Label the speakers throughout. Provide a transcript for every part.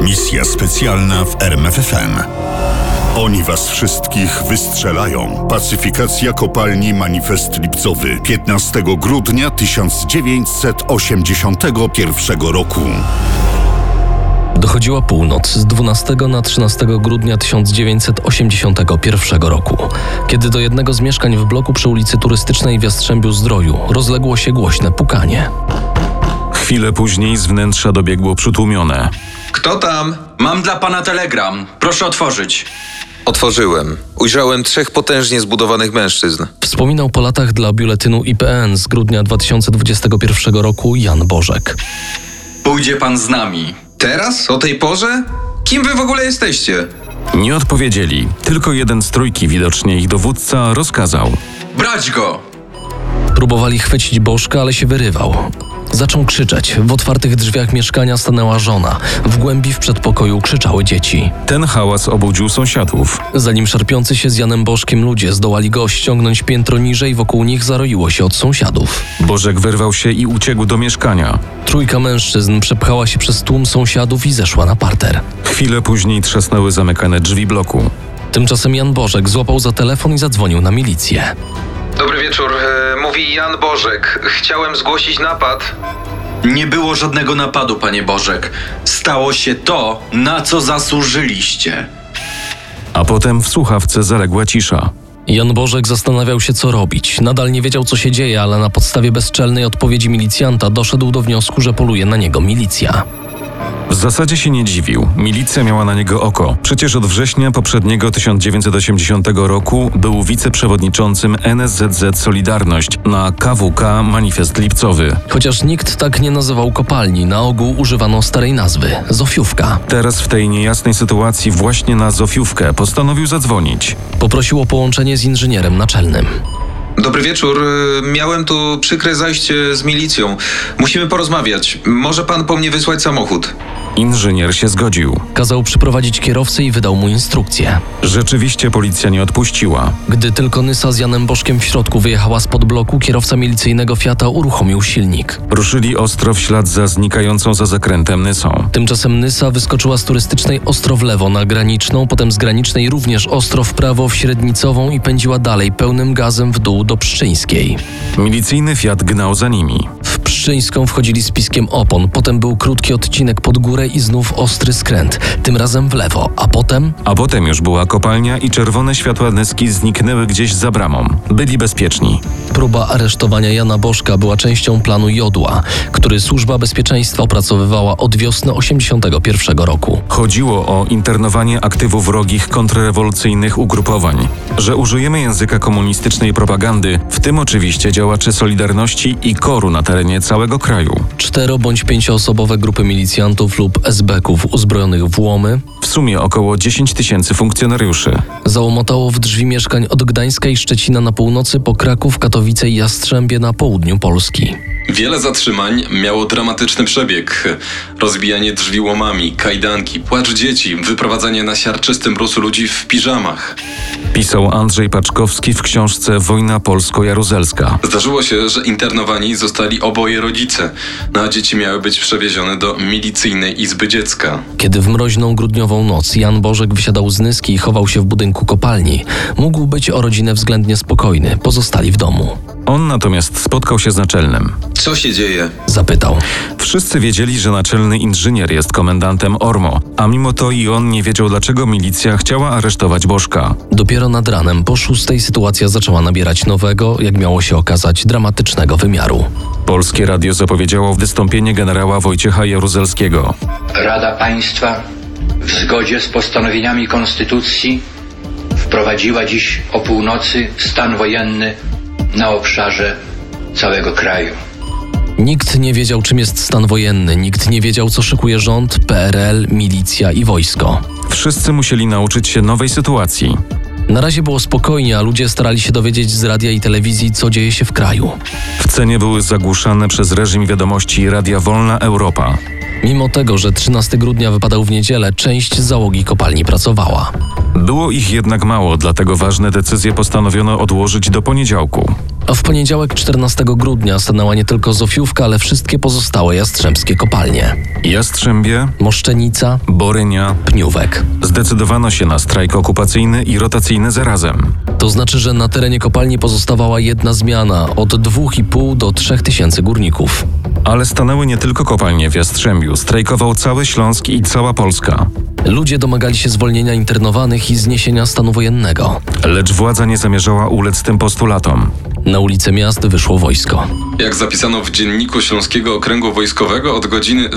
Speaker 1: Misja specjalna w RMFFM. Oni was wszystkich wystrzelają. Pacyfikacja kopalni Manifest Lipcowy 15 grudnia 1981 roku.
Speaker 2: Dochodziła północ z 12 na 13 grudnia 1981 roku, kiedy do jednego z mieszkań w bloku przy ulicy Turystycznej w Jastrzębiu Zdroju rozległo się głośne pukanie.
Speaker 3: Chwilę później z wnętrza dobiegło przytłumione.
Speaker 4: Kto tam?
Speaker 5: Mam dla pana telegram. Proszę otworzyć.
Speaker 4: Otworzyłem. Ujrzałem trzech potężnie zbudowanych mężczyzn.
Speaker 2: Wspominał po latach dla biuletynu IPN z grudnia 2021 roku Jan Bożek.
Speaker 5: Pójdzie pan z nami.
Speaker 4: Teraz? O tej porze? Kim wy w ogóle jesteście?
Speaker 3: Nie odpowiedzieli, tylko jeden z trójki widocznie ich dowódca rozkazał.
Speaker 5: Brać go!
Speaker 2: Próbowali chwycić Bożka, ale się wyrywał. Zaczął krzyczeć. W otwartych drzwiach mieszkania stanęła żona. W głębi w przedpokoju krzyczały dzieci.
Speaker 3: Ten hałas obudził sąsiadów.
Speaker 2: Zanim szarpiący się z Janem Bożkiem ludzie zdołali go ściągnąć piętro niżej, wokół nich zaroiło się od sąsiadów.
Speaker 3: Bożek wyrwał się i uciekł do mieszkania.
Speaker 2: Trójka mężczyzn przepchała się przez tłum sąsiadów i zeszła na parter.
Speaker 3: Chwilę później trzasnęły zamykane drzwi bloku.
Speaker 2: Tymczasem Jan Bożek złapał za telefon i zadzwonił na milicję.
Speaker 4: Dobry wieczór, e, mówi Jan Bożek. Chciałem zgłosić napad.
Speaker 5: Nie było żadnego napadu, panie Bożek. Stało się to, na co zasłużyliście.
Speaker 3: A potem w słuchawce zaległa cisza.
Speaker 2: Jan Bożek zastanawiał się, co robić. Nadal nie wiedział, co się dzieje, ale na podstawie bezczelnej odpowiedzi milicjanta doszedł do wniosku, że poluje na niego milicja.
Speaker 3: W zasadzie się nie dziwił. Milicja miała na niego oko. Przecież od września poprzedniego 1980 roku był wiceprzewodniczącym NSZZ Solidarność na KWK Manifest Lipcowy.
Speaker 2: Chociaż nikt tak nie nazywał kopalni, na ogół używano starej nazwy Zofiówka.
Speaker 3: Teraz w tej niejasnej sytuacji właśnie na Zofiówkę postanowił zadzwonić.
Speaker 2: Poprosił o połączenie z inżynierem naczelnym.
Speaker 4: Dobry wieczór, e, miałem tu przykre zajście z milicją. Musimy porozmawiać. Może pan po mnie wysłać samochód?
Speaker 3: Inżynier się zgodził.
Speaker 2: Kazał przyprowadzić kierowcę i wydał mu instrukcję.
Speaker 3: Rzeczywiście policja nie odpuściła.
Speaker 2: Gdy tylko Nysa z Janem Bożkiem w środku wyjechała spod bloku, kierowca milicyjnego Fiata uruchomił silnik.
Speaker 3: Ruszyli ostro w ślad za znikającą za zakrętem Nysą.
Speaker 2: Tymczasem Nysa wyskoczyła z turystycznej ostro w lewo na graniczną, potem z granicznej również ostro w prawo w średnicową i pędziła dalej pełnym gazem w dół do Pszczyńskiej.
Speaker 3: Milicyjny Fiat gnał za nimi.
Speaker 2: W Pszczyńską wchodzili z piskiem opon, potem był krótki odcinek pod górę i znów ostry skręt, tym razem w lewo, a potem
Speaker 3: A potem już była kopalnia i czerwone światła Nyski zniknęły gdzieś za bramą. Byli bezpieczni.
Speaker 2: próba aresztowania Jana Bożka była częścią planu Jodła, który Służba Bezpieczeństwa opracowywała od wiosny 81 roku.
Speaker 3: Chodziło o internowanie aktywów wrogich kontrrewolucyjnych ugrupowań. Że użyjemy języka komunistycznej propagandy, w tym oczywiście działaczy Solidarności i KOR-u na terenie całego kraju.
Speaker 2: Cztero bądź pięcioosobowe grupy milicjantów lub SB-ków uzbrojonych w łomy
Speaker 3: W sumie około 10 tysięcy funkcjonariuszy.
Speaker 2: załomotało w drzwi mieszkań od Gdańska i Szczecina na północy po Kraków, Katowice i Jastrzębie na południu Polski.
Speaker 6: Wiele zatrzymań miało dramatyczny przebieg. Rozbijanie drzwi łomami, kajdanki, płacz dzieci, wyprowadzanie na siarczystym rusu ludzi w piżamach.
Speaker 3: Pisał Andrzej Paczkowski w książce Wojna Polsko-Jaruzelska.
Speaker 6: Zdarzyło się, że internowani zostali oboje rodzice, no a dzieci miały być przewiezione do milicyjnej izby dziecka.
Speaker 2: Kiedy w mroźną grudniową noc Jan Bożek wysiadał z Nyski i chował się w budynku kopalni, mógł być o rodzinę względnie spokojny, pozostali w domu.
Speaker 3: On natomiast spotkał się z naczelnym.
Speaker 4: Co się dzieje?
Speaker 2: Zapytał.
Speaker 3: Wszyscy wiedzieli, że naczelny inżynier jest komendantem Ormo, a mimo to i on nie wiedział, dlaczego milicja chciała aresztować Bożka.
Speaker 2: Dopiero nad ranem po szóstej sytuacja zaczęła nabierać nowego, jak miało się okazać, dramatycznego wymiaru.
Speaker 3: Polskie radio zapowiedziało wystąpienie generała Wojciecha Jaruzelskiego.
Speaker 7: Rada Państwa w zgodzie z postanowieniami Konstytucji wprowadziła dziś o północy stan wojenny na obszarze całego kraju.
Speaker 2: Nikt nie wiedział, czym jest stan wojenny, nikt nie wiedział, co szykuje rząd, PRL, milicja i wojsko.
Speaker 3: Wszyscy musieli nauczyć się nowej sytuacji.
Speaker 2: Na razie było spokojnie, a ludzie starali się dowiedzieć z radia i telewizji, co dzieje się w kraju.
Speaker 3: W cenie były zagłuszane przez reżim wiadomości Radia Wolna Europa.
Speaker 2: Mimo tego, że 13 grudnia wypadał w niedzielę, część załogi kopalni pracowała.
Speaker 3: Było ich jednak mało, dlatego ważne decyzje postanowiono odłożyć do poniedziałku.
Speaker 2: A w poniedziałek 14 grudnia stanęła nie tylko Zofiówka, ale wszystkie pozostałe jastrzębskie kopalnie.
Speaker 3: Jastrzębie,
Speaker 2: Moszczenica,
Speaker 3: Borynia.
Speaker 2: Pniówek.
Speaker 3: Zdecydowano się na strajk okupacyjny i rotacyjny zarazem.
Speaker 2: To znaczy, że na terenie kopalni pozostawała jedna zmiana od 2,5 do 3 tysięcy górników.
Speaker 3: Ale stanęły nie tylko kopalnie w Jastrzębiu, strajkował cały Śląsk i cała Polska.
Speaker 2: Ludzie domagali się zwolnienia internowanych i zniesienia stanu wojennego.
Speaker 3: Lecz władza nie zamierzała ulec tym postulatom.
Speaker 2: Na ulice miast wyszło wojsko.
Speaker 6: Jak zapisano w dzienniku Śląskiego Okręgu Wojskowego, od godziny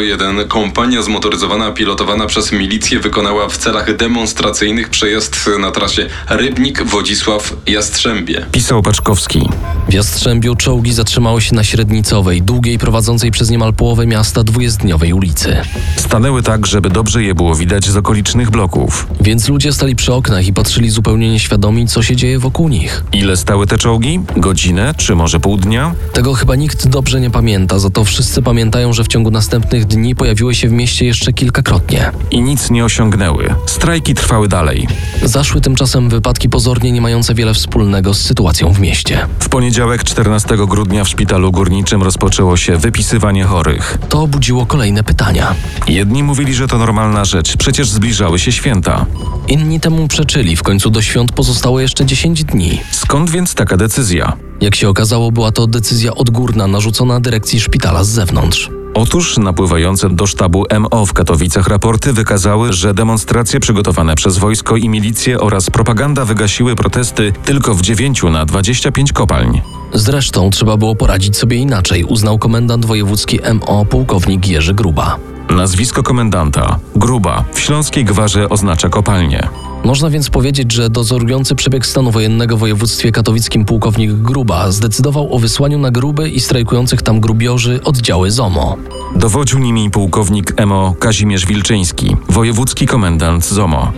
Speaker 6: 001 kompania zmotoryzowana pilotowana przez milicję wykonała w celach demonstracyjnych przejazd na trasie Rybnik-Wodzisław-Jastrzębie.
Speaker 3: Pisał Paczkowski.
Speaker 2: W Jastrzębiu czołgi zatrzymały się na Średnicowej, długiej prowadzącej przez niemal połowę miasta dwujezdniowej ulicy.
Speaker 3: Stanęły tak, żeby dobrze je było widać z okolicznych bloków.
Speaker 2: Więc ludzie stali przy oknach i patrzyli zupełnie nieświadomi, co się dzieje wokół nich.
Speaker 3: Ile stały te czołgi? Godzinę czy może pół dnia?
Speaker 2: Tego chyba nikt dobrze nie pamięta, za to wszyscy pamiętają, że w ciągu następnych dni pojawiły się w mieście jeszcze kilkakrotnie.
Speaker 3: I nic nie osiągnęły. Strajki trwały dalej.
Speaker 2: Zaszły tymczasem wypadki pozornie nie mające wiele wspólnego z sytuacją w mieście.
Speaker 3: W poniedziałek 14 grudnia w szpitalu górniczym rozpoczęło się wypisywanie chorych.
Speaker 2: To budziło kolejne pytania.
Speaker 3: Jedni mówili, że to normalna rzecz, przecież zbliżały się święta.
Speaker 2: Inni temu przeczyli, w końcu do świąt pozostało jeszcze 10 dni.
Speaker 3: Skąd więc taka decyzja?
Speaker 2: Jak się okazało, była to decyzja odgórna narzucona dyrekcji szpitala z zewnątrz.
Speaker 3: Otóż napływające do sztabu MO w Katowicach raporty wykazały, że demonstracje przygotowane przez wojsko i milicję oraz propaganda wygasiły protesty tylko w 9 na 25 kopalń.
Speaker 2: Zresztą trzeba było poradzić sobie inaczej, uznał komendant wojewódzki MO pułkownik Jerzy Gruba.
Speaker 3: Nazwisko komendanta Gruba w Śląskiej Gwarze oznacza kopalnię.
Speaker 2: Można więc powiedzieć, że dozorujący przebieg stanu wojennego w województwie katowickim pułkownik Gruba zdecydował o wysłaniu na Gruby i strajkujących tam grubiorzy oddziały ZOMO.
Speaker 3: Dowodził nimi pułkownik MO Kazimierz Wilczyński, wojewódzki komendant ZOMO.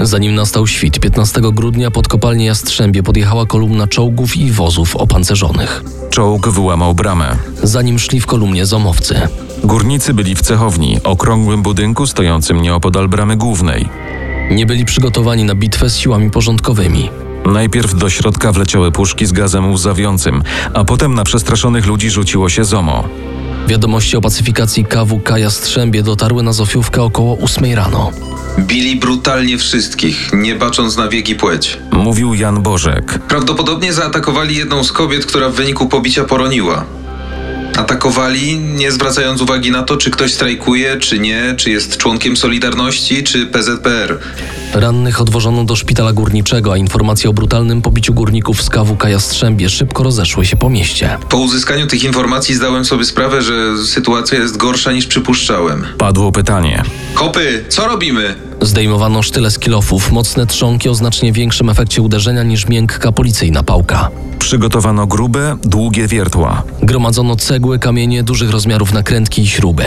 Speaker 2: Zanim nastał świt, 15 grudnia pod kopalnię Jastrzębie podjechała kolumna czołgów i wozów opancerzonych.
Speaker 3: Czołg wyłamał bramę.
Speaker 2: Zanim szli w kolumnie ZOMowcy.
Speaker 3: Górnicy byli w cechowni, okrągłym budynku stojącym nieopodal bramy głównej.
Speaker 2: Nie byli przygotowani na bitwę z siłami porządkowymi.
Speaker 3: Najpierw do środka wleciały puszki z gazem łzawiącym, a potem na przestraszonych ludzi rzuciło się ZOMO.
Speaker 2: Wiadomości o pacyfikacji KWK Jastrzębie dotarły na Zofiówkę około 8 rano.
Speaker 4: Bili brutalnie wszystkich, nie bacząc na wiek i płeć.
Speaker 3: Mówił Jan Bożek.
Speaker 4: Prawdopodobnie zaatakowali jedną z kobiet, która w wyniku pobicia poroniła. Atakowali, nie zwracając uwagi na to, czy ktoś strajkuje, czy nie, czy jest członkiem Solidarności, czy PZPR.
Speaker 2: Rannych odwożono do szpitala górniczego, a informacje o brutalnym pobiciu górników z KWK Jastrzębie szybko rozeszły się po mieście.
Speaker 4: Po uzyskaniu tych informacji zdałem sobie sprawę, że sytuacja jest gorsza niż przypuszczałem.
Speaker 3: Padło pytanie.
Speaker 4: Kopy, co robimy?
Speaker 2: Zdejmowano sztyle z kilofów, mocne trzonki o znacznie większym efekcie uderzenia niż miękka policyjna pałka.
Speaker 3: Przygotowano grube, długie wiertła.
Speaker 2: Gromadzono cegły, kamienie dużych rozmiarów nakrętki i śruby.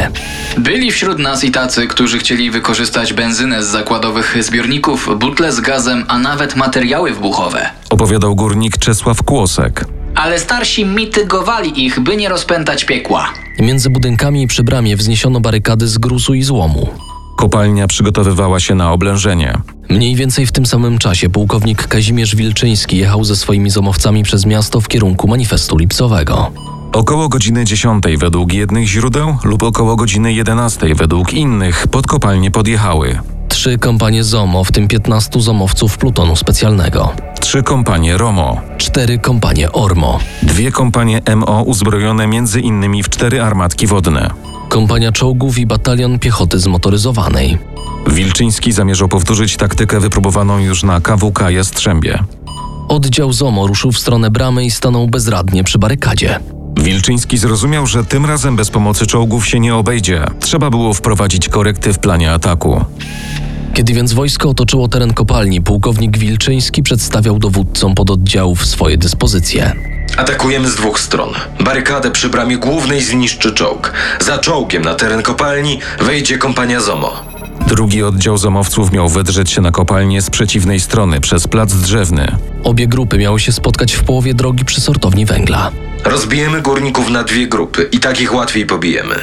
Speaker 8: Byli wśród nas i tacy, którzy chcieli wykorzystać benzynę z zakładowych zbiorników, butle z gazem, a nawet materiały wybuchowe.
Speaker 3: Opowiadał górnik Czesław Kłosek.
Speaker 8: Ale starsi mitygowali ich, by nie rozpętać piekła.
Speaker 2: Między budynkami i przy bramie wzniesiono barykady z gruzu i złomu.
Speaker 3: Kopalnia przygotowywała się na oblężenie.
Speaker 2: Mniej więcej w tym samym czasie pułkownik Kazimierz Wilczyński jechał ze swoimi zomowcami przez miasto w kierunku manifestu lipcowego.
Speaker 3: Około godziny 10 według jednych źródeł lub około godziny 11 według innych pod kopalnię podjechały.
Speaker 2: Trzy kompanie ZOMO, w tym 15 zomowców plutonu specjalnego,
Speaker 3: Trzy kompanie ROMO,
Speaker 2: cztery kompanie ORMO,
Speaker 3: dwie kompanie MO uzbrojone między innymi w cztery armatki wodne.
Speaker 2: kompania czołgów i batalion piechoty zmotoryzowanej.
Speaker 3: Wilczyński zamierzał powtórzyć taktykę wypróbowaną już na KWK Jastrzębie.
Speaker 2: Oddział ZOMO ruszył w stronę bramy i stanął bezradnie przy barykadzie.
Speaker 3: Wilczyński zrozumiał, że tym razem bez pomocy czołgów się nie obejdzie. Trzeba było wprowadzić korekty w planie ataku.
Speaker 2: Kiedy więc wojsko otoczyło teren kopalni, pułkownik Wilczyński przedstawiał dowódcom pododdziałów swoje dyspozycje.
Speaker 5: Atakujemy z dwóch stron. Barykadę przy bramie głównej zniszczy czołg. Za czołgiem na teren kopalni wejdzie kompania ZOMO.
Speaker 3: Drugi oddział zamowców miał wydrzeć się na kopalnię z przeciwnej strony przez plac drzewny.
Speaker 2: Obie grupy miały się spotkać w połowie drogi przy sortowni węgla.
Speaker 5: Rozbijemy górników na dwie grupy i tak ich łatwiej pobijemy.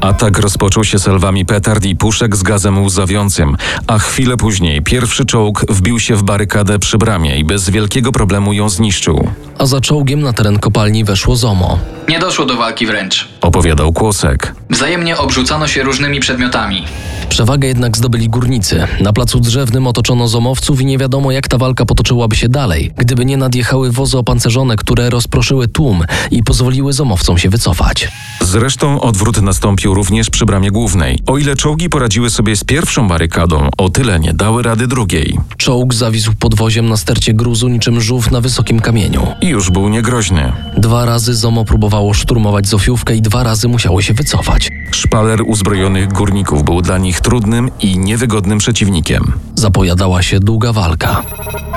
Speaker 3: Atak rozpoczął się selwami petard i puszek z gazem łzawiącym, a chwilę później pierwszy czołg wbił się w barykadę przy bramie i bez wielkiego problemu ją zniszczył.
Speaker 2: a za czołgiem na teren kopalni weszło ZOMO.
Speaker 8: Nie doszło do walki wręcz.
Speaker 3: Opowiadał Kłosek.
Speaker 8: Wzajemnie obrzucano się różnymi przedmiotami.
Speaker 2: Przewagę jednak zdobyli górnicy. Na placu drzewnym otoczono zomowców i nie wiadomo jak ta walka potoczyłaby się dalej, gdyby nie nadjechały wozy opancerzone, które rozproszyły tłum i pozwoliły zomowcom się wycofać.
Speaker 3: Zresztą odwrót nastąpił również przy bramie głównej. O ile czołgi poradziły sobie z pierwszą barykadą, o tyle nie dały rady drugiej.
Speaker 2: Czołg zawisł pod woziem na stercie gruzu niczym żółw na wysokim kamieniu.
Speaker 3: I już był niegroźny.
Speaker 2: Dwa razy ZOMO próbowało szturmować Zofiówkę i dwa razy musiało się wycofać.
Speaker 3: Szpaler uzbrojonych górników był dla nich trudnym i niewygodnym przeciwnikiem.
Speaker 2: Zapowiadała się długa walka.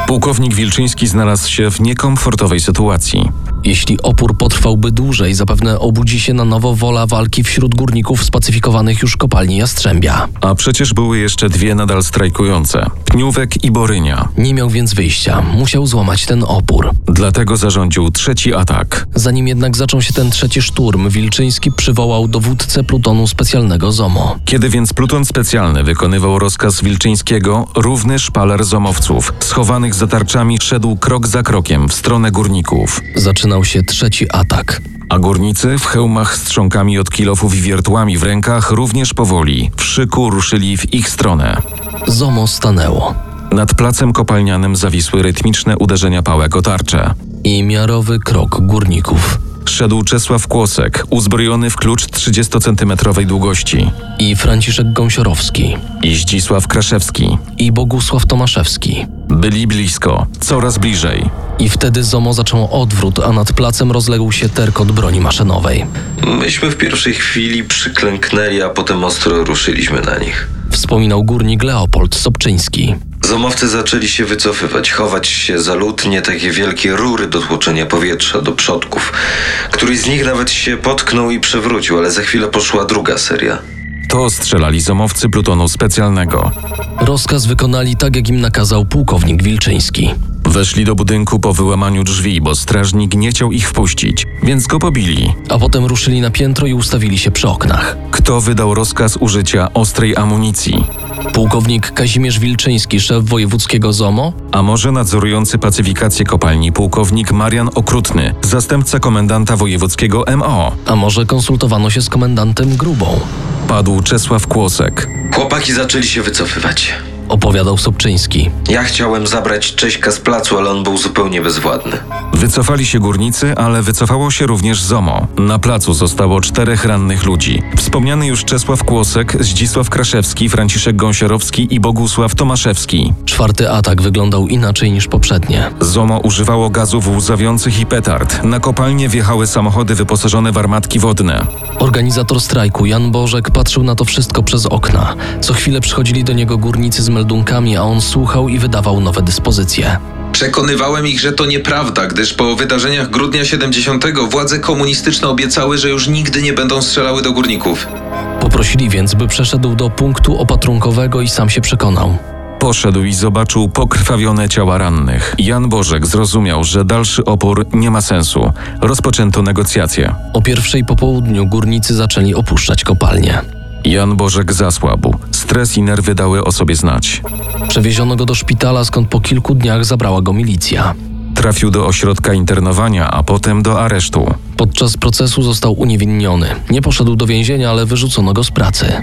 Speaker 3: Pułkownik Wilczyński znalazł się w niekomfortowej sytuacji.
Speaker 2: Jeśli opór potrwałby dłużej, zapewne obudzi się na nowo wola walki wśród górników spacyfikowanych już kopalni Jastrzębia.
Speaker 3: A przecież były jeszcze dwie nadal strajkujące Pniówek i Borynia.
Speaker 2: Nie miał więc wyjścia, musiał złamać ten opór.
Speaker 3: Dlatego zarządził trzeci atak.
Speaker 2: Zanim jednak zaczął się ten trzeci szturm, Wilczyński przywołał dowódcę plutonu specjalnego ZOMO.
Speaker 3: Kiedy więc pluton specjalny wykonywał rozkaz Wilczyńskiego, równy szpaler zomowców, schowanych za tarczami, szedł krok za krokiem w stronę górników.
Speaker 2: Zaczynał się trzeci atak.
Speaker 3: A górnicy w hełmach z trzonkami od kilofów i wiertłami w rękach również powoli, w szyku ruszyli w ich stronę.
Speaker 2: ZOMO stanęło
Speaker 3: Nad placem kopalnianym zawisły rytmiczne uderzenia pałek o tarczę.
Speaker 2: i miarowy krok górników.
Speaker 3: Szedł Czesław Kłosek, uzbrojony w klucz 30-centymetrowej długości.
Speaker 2: I Franciszek Gąsiorowski,
Speaker 3: I Zdzisław Kraszewski.
Speaker 2: i Bogusław Tomaszewski.
Speaker 3: Byli blisko, coraz bliżej.
Speaker 2: I wtedy ZOMO zaczęło odwrót, a nad placem rozległ się terkot broni maszynowej.
Speaker 5: Myśmy w pierwszej chwili przyklęknęli, a potem ostro ruszyliśmy na nich.
Speaker 2: Wspominał górnik Leopold Sobczyński.
Speaker 5: Zomowcy zaczęli się wycofywać, chować się za lód, nie takie wielkie rury do tłoczenia powietrza do przodków. Któryś z nich nawet się potknął i przewrócił, ale za chwilę poszła druga seria.
Speaker 3: To strzelali zomowcy plutonu specjalnego.
Speaker 2: Rozkaz wykonali tak, jak im nakazał pułkownik Wilczyński.
Speaker 3: Weszli do budynku po wyłamaniu drzwi, bo strażnik nie chciał ich wpuścić, więc go pobili.
Speaker 2: A potem ruszyli na piętro i ustawili się przy oknach.
Speaker 3: Kto wydał rozkaz użycia ostrej amunicji?
Speaker 2: Pułkownik Kazimierz Wilczyński, szef wojewódzkiego ZOMO,
Speaker 3: A może nadzorujący pacyfikację kopalni pułkownik Marian Okrutny, zastępca komendanta wojewódzkiego MO?
Speaker 2: a może konsultowano się z komendantem Grubą,
Speaker 3: Padł Czesław Kłosek.
Speaker 5: Chłopaki zaczęli się wycofywać.
Speaker 2: opowiadał Sobczyński.
Speaker 5: Ja chciałem zabrać Cześka z placu, ale on był zupełnie bezwładny.
Speaker 3: Wycofali się górnicy, ale wycofało się również ZOMO. Na placu zostało czterech rannych ludzi. Wspomniany już Czesław Kłosek, Zdzisław Kraszewski, Franciszek Gąsiorowski i Bogusław Tomaszewski.
Speaker 2: Czwarty atak wyglądał inaczej niż poprzednie.
Speaker 3: ZOMO używało gazów łzawiących i petard. Na kopalnię wjechały samochody wyposażone w armatki wodne.
Speaker 2: Organizator strajku, Jan Bożek, patrzył na to wszystko przez okna. Co chwilę przychodzili do niego górnicy z meldunkami, a on słuchał i wydawał nowe dyspozycje.
Speaker 4: Przekonywałem ich, że to nieprawda, gdyż po wydarzeniach grudnia 70 władze komunistyczne obiecały, że już nigdy nie będą strzelały do górników.
Speaker 2: Poprosili więc, by przeszedł do punktu opatrunkowego i sam się przekonał.
Speaker 3: Poszedł i zobaczył pokrwawione ciała rannych. Jan Bożek zrozumiał, że dalszy opór nie ma sensu. Rozpoczęto negocjacje.
Speaker 2: O pierwszej po południu górnicy zaczęli opuszczać kopalnię.
Speaker 3: Jan Bożek zasłabł. Stres i nerwy dały o sobie znać.
Speaker 2: Przewieziono go do szpitala, skąd po kilku dniach zabrała go milicja.
Speaker 3: Trafił do ośrodka internowania, a potem do aresztu.
Speaker 2: Podczas procesu został uniewinniony. Nie poszedł do więzienia, ale wyrzucono go z pracy.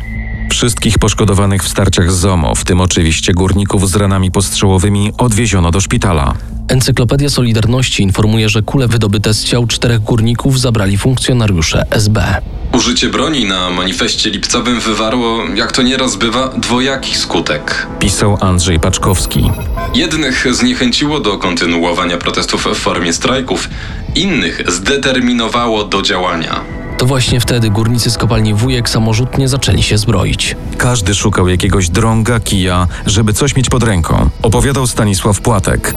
Speaker 3: Wszystkich poszkodowanych w starciach z ZOMO, w tym oczywiście górników z ranami postrzałowymi, odwieziono do szpitala.
Speaker 2: Encyklopedia Solidarności informuje, że kule wydobyte z ciał czterech górników zabrali funkcjonariusze SB.
Speaker 6: Użycie broni na manifestie lipcowym wywarło, jak to nieraz bywa, dwojaki skutek.
Speaker 3: Pisał Andrzej Paczkowski.
Speaker 6: Jednych zniechęciło do kontynuowania protestów w formie strajków, innych zdeterminowało do działania.
Speaker 2: To właśnie wtedy górnicy z kopalni Wujek samorzutnie zaczęli się zbroić.
Speaker 3: Każdy szukał jakiegoś drąga, kija, żeby coś mieć pod ręką. Opowiadał Stanisław Płatek.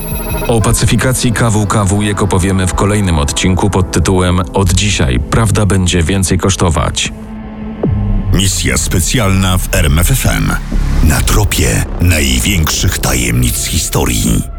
Speaker 3: O pacyfikacji KWKW jak opowiemy w kolejnym odcinku pod tytułem Od dzisiaj prawda będzie więcej kosztować.
Speaker 1: Misja specjalna w RMFFM. Na tropie największych tajemnic historii.